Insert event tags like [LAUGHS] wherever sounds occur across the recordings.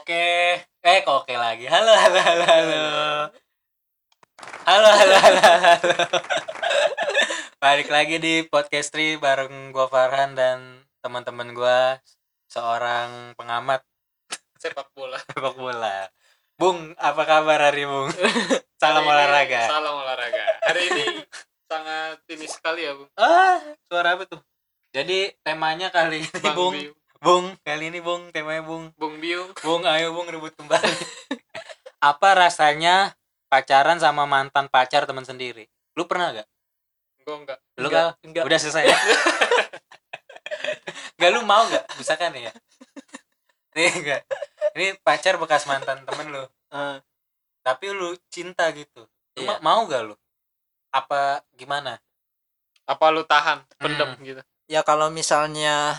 Oke, eh kok oke lagi. Halo, halo, halo, halo. Halo, halo, halo, halo. Balik lagi di podcast Tri bareng gua Farhan dan teman-teman gua seorang pengamat sepak bola. sepak bola. Bung, apa kabar hari Bung? Salam Hari ini olahraga. Salam olahraga. Hari ini sangat ini sekali ya, Bung. Ah, suara apa tuh? Jadi temanya kali ini Bang Bung, Biu. Bung, kali ini Bung, temanya Bung. Bung Biu. Bung, ayo Bung rebut kembali. [LAUGHS] Apa rasanya pacaran sama mantan pacar teman sendiri? Lu pernah gak? Gua enggak. Lu kalau Enggak, enggak. udah selesai. [LAUGHS] Gak lu mau gak? Misalkan ya. [LAUGHS] Nih enggak. Ini pacar bekas mantan temen lu, Eh, tapi lu cinta gitu. Lu Iya. ma- mau gak lu? Apa gimana? Apa lu tahan, pendem Hmm. gitu. ya kalau misalnya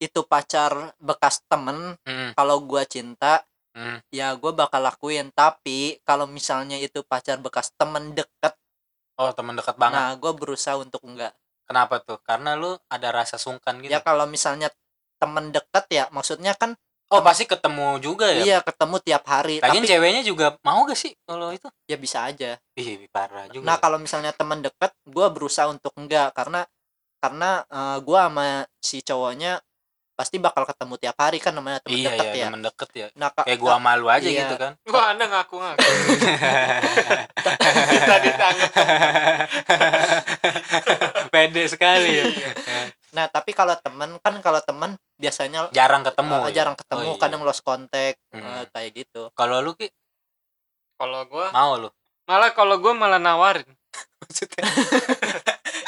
itu pacar bekas temen Hmm. kalau gua cinta Hmm. ya gua bakal lakuin tapi kalau misalnya itu pacar bekas temen deket Oh, temen dekat banget. nah gua berusaha untuk enggak Kenapa tuh? Karena lu ada rasa sungkan gitu. ya kalau misalnya temen deket ya maksudnya kan Oh, pasti ketemu juga ya. iya ketemu tiap hari Lagian tapi ceweknya juga mau gak sih kalau itu? ya bisa aja Ih, parah juga. ya. nah kalau misalnya temen deket gua berusaha untuk enggak karena karena eh, gua sama si cowoknya pasti bakal ketemu tiap hari kan namanya temen iya, deket iya, ya temen deket ya. nah ka- Kayak gua malu aja Iya. gitu [LAUGHS] kan. Wah, Anda [LAUGHS] ngaku-ngaku. Kita ditangkap. Pede sekali. [LAUGHS] ya. Nah, tapi kalau temen kan kalau temen biasanya jarang ketemu. uh, ya? jarang Oh, ketemu, iya. kadang lost contact Hmm. uh, kayak gitu. Kalau lu Ki, Kalau gua mau lu. malah kalau gua malah nawarin. Maksudnya.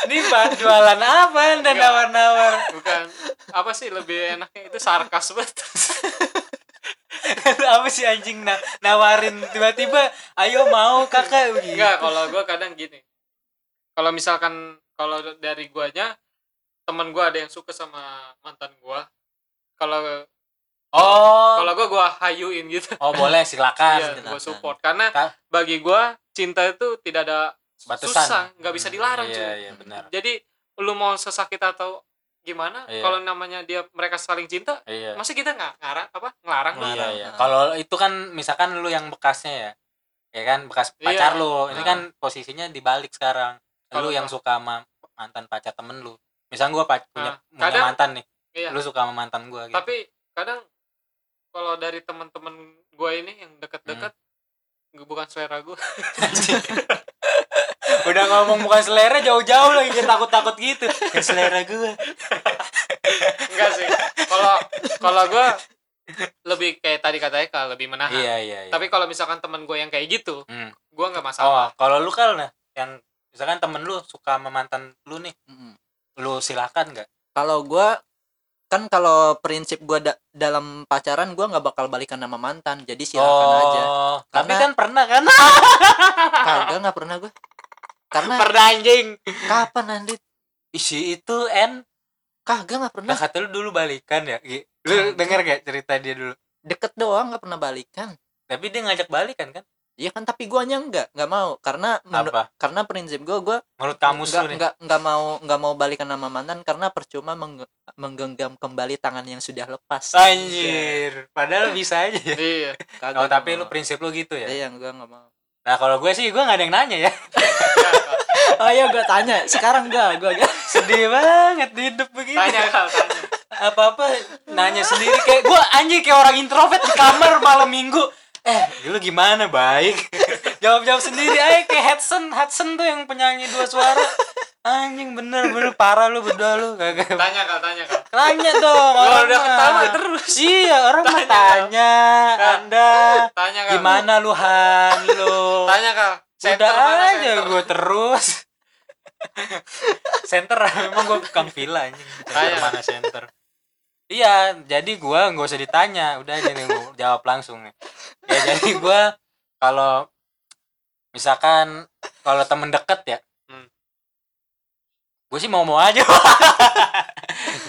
Ini ba- jualan apa Anda Enggak. nawar-nawar? [LAUGHS] Bukan apa sih lebih enaknya itu sarkas banget. [LAUGHS] apa sih anjing na- nawarin tiba-tiba, "Ayo mau kakak." Gitu. Enggak, kalau gua kadang gini. Kalau misalkan kalau dari guanya teman gua ada yang suka sama mantan gua. Kalau Oh. kalau gua gua hayuin gitu. Oh, boleh silakan. Nah, Iya, gue support karena Ta- bagi gue cinta itu tidak ada Batasan. susah, nggak bisa dilarang Iya, cuy. iya, benar. Jadi lu mau sesakit atau gimana? Iya. Kalau namanya dia mereka saling cinta, Iya. masa kita nggak ngarang apa ngelarang dong? Iya, Ngelarang. iya. Kalau itu kan misalkan lu yang bekasnya ya. Ya kan bekas pacar Iya. lu. Ini kan posisinya dibalik sekarang. Lu Kalau- yang suka sama mantan pacar temen lu. Misalnya gua pac- punya, Nah, punya kadang- mantan nih. Iya. Lu suka sama mantan gua gitu. Tapi kadang kalau dari teman-teman gue ini yang deket-deket, Hmm. gua [LAUGHS] bukan selera gue. [LAUGHS] Udah ngomong bukan selera jauh-jauh lagi kayak takut-takut gitu. Kayak selera gua. Enggak sih. Kalau kalau gue lebih kayak tadi kata Eka lebih menahan. Iya, iya, iya. Nah, Tapi kalau misalkan teman gue yang kayak gitu, Hmm. gue nggak masalah. Oh, kalau lu kal nah yang misalkan temen lu suka sama mantan lu nih, Mm-mm. lu silakan nggak? Kalau gua kan kalau prinsip gua da- dalam pacaran gua nggak bakal balikan sama mantan, jadi silakan [LAUGHS] aja. Oh, Tapi Karena- kan pernah kan? Kagak nggak pernah gua. Karena pernah anjing. kapan nanti Isi itu N kagak nggak pernah Nah, kata lu dulu balikan ya. Gi? Lu Nah, denger gak cerita dia dulu? deket doang nggak pernah balikan. Tapi dia ngajak balikan kan? Iya kan tapi guanya nggak nggak mau karena menu- Apa? karena prinsip gua gua Menurut kamu nggak lu nih. nggak nggak mau nggak mau balikan sama mantan karena percuma mengge- menggenggam kembali tangan yang sudah lepas. Anjir, padahal bisa aja ya. Iya. Kagak, Oh, nggak tapi lu mau. prinsip lu gitu ya. Iya, gue gak mau. Nah, kalau gue sih gue gak ada yang nanya ya. Oh iya, gue tanya. Sekarang gak, [LAUGHS] gue gak. Sedih banget di hidup begini. Tanya kal, tanya. Apa-apa nanya sendiri kayak gue anjir kayak orang introvert di kamar malam Minggu. Eh, lu gimana baik? [LAUGHS] Jawab-jawab sendiri aja kayak Hudson, Hudson tuh yang penyanyi dua suara. Anjing bener bener parah lu berdua lu kagak Tanya kal, tanya kal. Tanya dong. Kalau orang udah mah. ketawa terus. Iya, orang mah Tanya. Nah. tanya Kak. Anda Tanya kak. gimana lu Han lu. Tanya kak. Center Udah mana aja center? gue terus. [LAUGHS] center emang gue bukan villa anjing. Center Tanya. mana center. Iya, jadi gua nggak usah ditanya, udah aja nih gua jawab langsung nih. Ya jadi gua kalau misalkan kalau temen deket ya, Hmm. gue sih mau mau aja. [LAUGHS]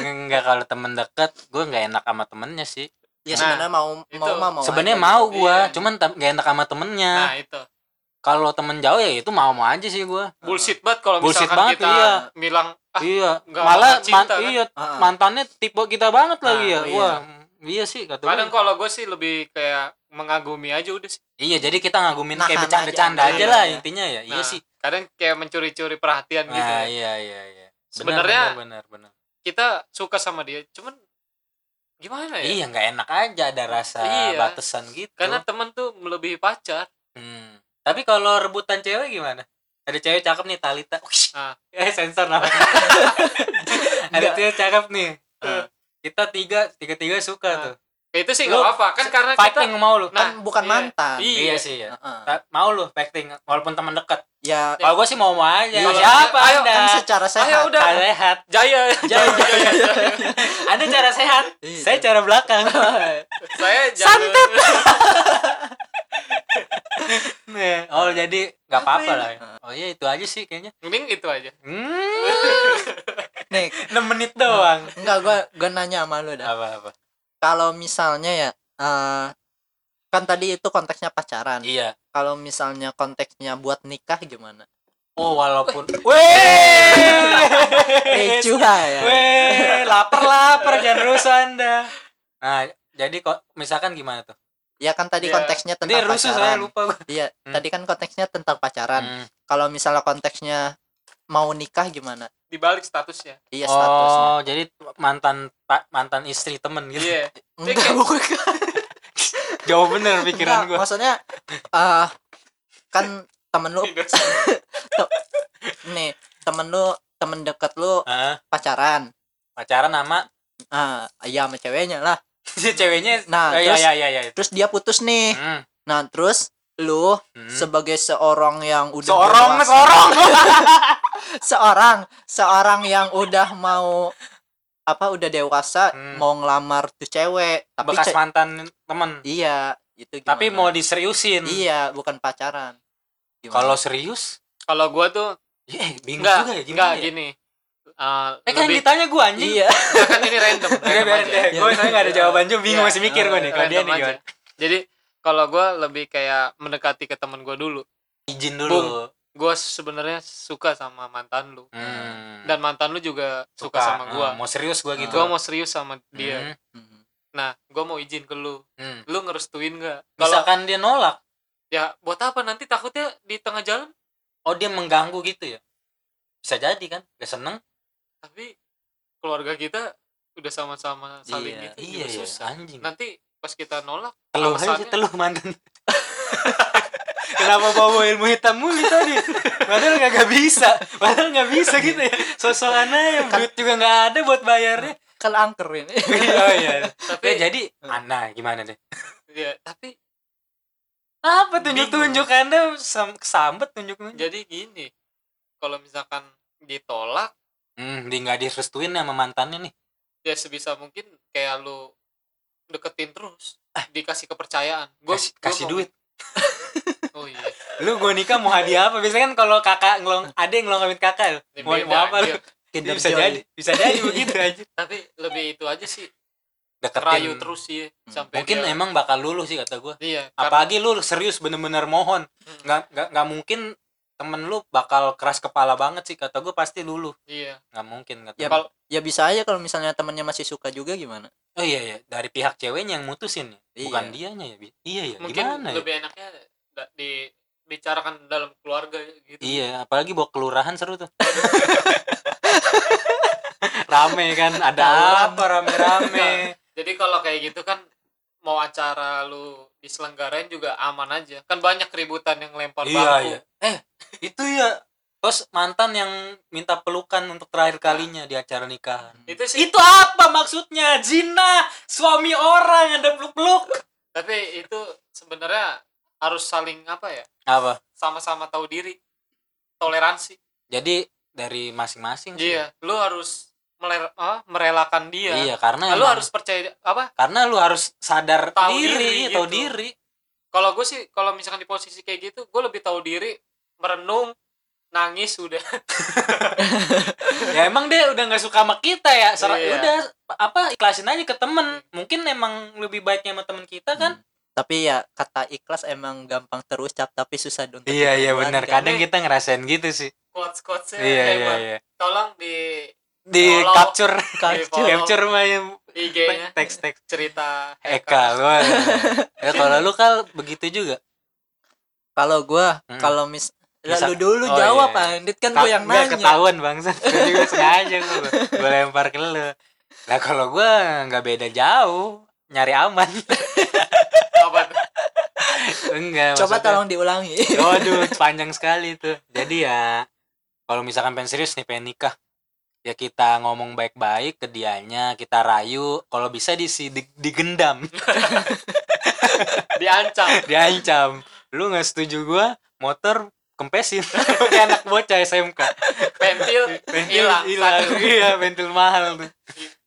Enggak kalau temen deket, gua nggak enak sama temennya sih. Nah, Ya sebenarnya mau itu. mau mah mau. Sebenarnya aja. mau gua, Iya. cuman tem- nggak enak sama temennya. Nah itu Kalau temen jauh ya itu mau mau aja sih gua. bullshit banget kalau Bullshit misalkan banget, kita iya. bilang ah iya nggak malah cinta, man- kan? iya Heeh. mantannya tipe kita banget lagi Nah, ya iya. wah Iya sih kata kadang gue. kalau gue sih lebih kayak mengagumi aja udah sih Iya jadi kita ngagumin Nahan kayak bercanda-bercanda aja. aja, Iya, lah iya. intinya ya. iya Nah, sih. kadang kayak mencuri-curi perhatian gitu Nah, iya iya iya. Benar, Sebenarnya- benar benar. benar. kita suka sama dia cuman gimana ya Iya nggak enak aja ada rasa Iya. batasan gitu. karena temen tuh melebihi pacar Hmm. Tapi kalau rebutan cewek gimana? Ada cewek cakep nih Talita. Wish. Ah. [LAUGHS] Eh sensor [LAUGHS] namanya. Ada Nggak. cewek cakep nih. Hmm. Ah. Kita tiga tiga tiga suka Ah. tuh. Ya, itu sih Lu nggak apa kan karena Fighting kita mau lu. Nah, kan bukan iya. mantan Iya. iya. sih ya. Heeh. Ta- Mau lu fighting walaupun teman dekat. ya Ya. Kalau gue sih mau mau aja. Iya. Siapa Ayo, Iya, anda? kan ya secara ayo sehat udah Cara sehat. jaya Jaya, jaya, [LAUGHS] Anda cara sehat. Iya. Saya cara belakang. saya jaya. Santet. oh jadi nggak apa-apa lah. ya. Oh iya itu aja sih kayaknya. mending itu aja Hmm. nih 6 menit doang. enggak gua gua nanya sama lu dah Apa-apa? kalau misalnya ya eh, kan tadi itu konteksnya pacaran Iya. kalau misalnya konteksnya buat nikah gimana Oh walaupun. [LAUGHS] [LAUGHS] Weh. ricu lah ya Weh, lapar-lapar jangan rusuh Anda. Nah, jadi kok misalkan gimana tuh? ya kan tadi Iya. konteksnya Dia tentang rusuh saya pacaran Kan, lupa gua. iya Hmm. tadi kan konteksnya tentang pacaran Hmm. kalau misalnya konteksnya mau nikah gimana dibalik statusnya iya statusnya Oh, jadi mantan pa- mantan istri temen gitu. iya enggak kayak- bukan Jauh bener pikiran Enggak, gua. maksudnya eh kan temen lu Iya. nih temen lu temen deket lu Heeh, pacaran pacaran sama [LAUGHS] ah ya sama ceweknya lah si ceweknya. Nah, ya, terus- ya, ya, ya, itu. terus dia putus nih Hmm, nah terus lu hmm. sebagai seorang yang udah Seorang, dewasa- seorang. seorang seorang yang udah mau apa udah dewasa Hmm. mau ngelamar tuh cewek tapi Bekas ce- mantan temen. iya itu gimana? Tapi mau diseriusin. iya bukan pacaran Gimana? Kalau serius, kalau gua tuh ya, eh, bingung enggak juga ya gimana enggak ya? gini Eh, Eh kan [LAUGHS] lebih- ditanya gue anjing. [LAUGHS] iya Nah, kan ini random, Udah random biarin aja. deh. Gue soalnya gak ada jawaban juga iya. bingung Iya. masih mikir gue nih. Kalau dia Random nih aja. gimana? Jadi kalau gue lebih kayak mendekati ke temen gue dulu. Izin Bung. dulu. Gue sebenarnya suka sama mantan lu Hmm. dan mantan lu juga suka, sama gue. Hmm, Mau serius gue gitu. Gue mau serius sama dia. Hmm, Hmm. Nah, gue mau izin ke lu. hmm. Lu ngerestuin gak? Kalau Misalkan dia nolak, ya buat apa nanti takutnya di tengah jalan? oh dia mengganggu gitu ya. Bisa jadi kan? Gak seneng. Tapi keluarga kita udah sama-sama saling Iya, gitu juga ya, susah. anjing. Nanti pas kita nolak, Teluh alasannya- aja teluh mantan. [LAUGHS] Kenapa bawa ilmu hitam mulu tadi? Padahal gak, gak bisa. Padahal gak bisa gitu ya. Sosokan aja. Duit juga gak ada buat bayarnya. kan angker ini oh Kan- [LAUGHS] iya. Ya, tapi jadi, Ana gimana deh? ya, tapi apa tunjuk tunjuk anda sam kesambet tunjuk tunjuk jadi gini kalau misalkan ditolak hmm dia nggak direstuin sama mantannya nih ya sebisa mungkin kayak lu deketin terus dikasih kepercayaan Ah. Gua- kasih, gua kasih mau- duit oh [LAUGHS] iya lu gua nikah mau hadiah apa biasanya kan kalau kakak ngelong ada yang ngelongkapin kakak lu Ini mau, beda, mau apa lu anjir. Iya, Kinder bisa Joy. jadi bisa jadi begitu aja tapi lebih itu aja sih deketin Hmm. rayu terus sih sampai mungkin dia- emang bakal lulu sih kata gua iya karena- apalagi lu serius bener-bener mohon Hmm. nggak nggak nggak mungkin temen lu bakal keras kepala banget sih kata gua pasti lulu iya nggak mungkin kata gua. Ya, kalau ya bisa aja kalau misalnya temennya masih suka juga gimana oh iya iya dari pihak ceweknya yang mutusin ya bukan Iya. dianya ya Bi? iya ya mungkin gimana ya? lebih enaknya da- dibicarakan dalam keluarga gitu Iya, apalagi bawa kelurahan seru tuh. [LAUGHS] rame kan, ada Tawuran. apa rame-rame. jadi kalau kayak gitu kan mau acara lu diselenggarain juga aman aja kan banyak keributan yang lempar iya, bangku iya. Eh, itu ya. Terus mantan yang minta pelukan untuk terakhir kalinya di acara kan. nikahan. itu sih Itu apa maksudnya? Zina, suami orang ada peluk-peluk. tapi itu sebenarnya harus saling apa ya Apa? sama-sama tahu diri toleransi Jadi dari masing-masing sih. iya lu harus meler- apa, merelakan dia Iya, karena Nah, lu emang- harus percaya apa karena lu harus sadar Tahu diri, diri tahu gitu. diri. kalau gue sih kalau misalkan di posisi kayak gitu gue lebih tahu diri merenung nangis udah [LAUGHS] ya emang dia udah nggak suka sama kita ya Serah, Iya. udah apa ikhlasin aja ke temen mungkin emang lebih baiknya sama temen kita kan Hmm. tapi ya kata ikhlas emang gampang terucap tapi susah untuk iya iya ditemukan, benar kan? kadang kita ngerasain gitu sih quotes quotesnya iya iya hebat iya tolong di di Follow. [LAUGHS] capture Di capture mah yang [LAUGHS] IG-nya teks teks cerita Eka [LAUGHS] lu eh. ya kalau lu kan begitu juga Kalau gua, Hmm. kalau mis Lah, Misal- lu dulu oh, jawab, iya. Andit kan gua yang Nggak nanya. ketahuan [LAUGHS] bangsa gue juga sengaja gue gue lempar ke lu nah kalau gue nggak beda jauh nyari aman [LAUGHS] apa tuh? enggak maksudnya- Coba Iya. tolong [LAUGHS] diulangi. Waduh, panjang sekali itu. Jadi ya, kalau misalkan pengen serius nih, pengen nikah, ya kita ngomong baik-baik ke dianya, kita rayu, kalau bisa disi di- digendam, [LAUGHS] diancam diancam. Lu nggak setuju gua, motor kempesin. [LAUGHS] Kayak anak bocah SMK. pentil Pentil hilang hilang. Iya, pentil mahal tuh.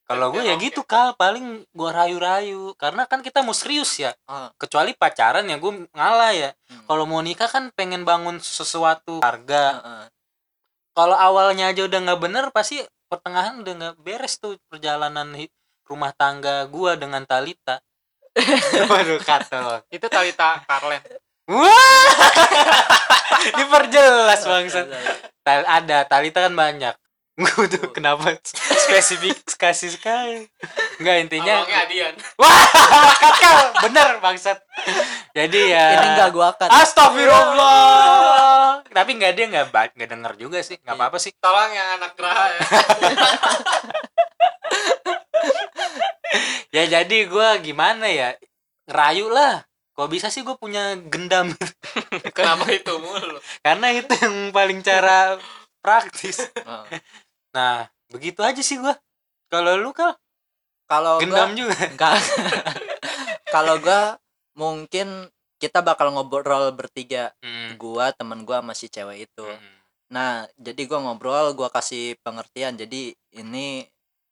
Kalau gue Pentil ya longket. gitu kal, paling gua rayu-rayu. Karena kan kita mau serius ya. Ah. Kecuali pacaran ya gue ngalah ya. Hmm. Kalau mau nikah kan pengen bangun sesuatu harga. Heeh. kalau awalnya aja udah nggak bener pasti pertengahan udah nggak beres tuh perjalanan hi- rumah tangga gua dengan Talita. [LAUGHS] Waduh kata. itu Talita Karlen Wah. [LAUGHS] Diperjelas bangsa. Tal- ada Talita kan banyak. [LAUGHS] Gue tuh kenapa spesifik kasih sekali. Enggak intinya. Abangnya Adian Wah, kakak bener bangsat. Jadi ya. Ini enggak gua akan. Astagfirullah. Tapi nggak dia nggak ba- nggak denger juga sih. Nggak apa-apa sih. tolong yang anak geraha [LAUGHS] ya ya jadi gua gimana ya ngerayu lah kok bisa sih gue punya gendam [LAUGHS] kenapa itu mulu karena itu yang paling cara praktis Heeh. nah begitu aja sih gua kalau lu kan Kalau gua gendam juga Enggak. [LAUGHS] Kalau gua mungkin kita bakal ngobrol bertiga, Hmm. gua, temen gua sama si cewek itu. Hmm. Nah, jadi gua ngobrol, gua kasih pengertian. Jadi ini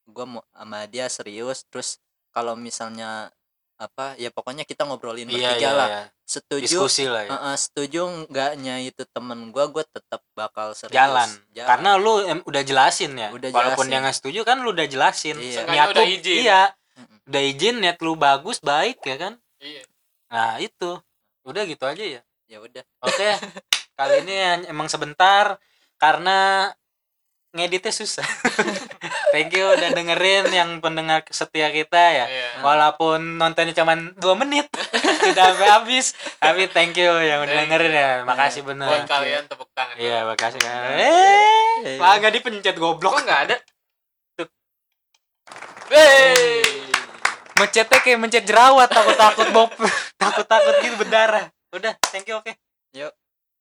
gua mau sama dia serius terus kalau misalnya apa ya pokoknya kita ngobrolin iya bertiga iya lah. iya. Setuju diskusi lah ya. Heeh, setuju enggaknya itu temen gua gua tetap bakal serius. jalan. Jalan. karena lu em, udah jelasin ya Udah walaupun jelasin. dia nggak setuju kan lu udah jelasin Iya. Seenggaknya lu udah izin. iya Mm-mm. udah izin niat lu bagus baik ya kan iya nah itu udah gitu aja ya ya udah. Oke, [LAUGHS] kali ini en- emang sebentar karena ngeditnya [LAUGHS] susah. Thank you udah dengerin yang pendengar setia kita ya. iya Walaupun nontonnya cuman 2 menit, [LAUGHS] tidak sampai habis. Tapi thank you yang udah Thank dengerin ya. Makasih buat bener. kalian tepuk tangan Iya, makasih. Eh, lah nggak dipencet kok goblok. nggak ada Wey. Mencetnya [LAUGHS] kayak mencet jerawat takut-takut bob. Takut-takut gitu berdarah. Udah, thank you oke. Yuk.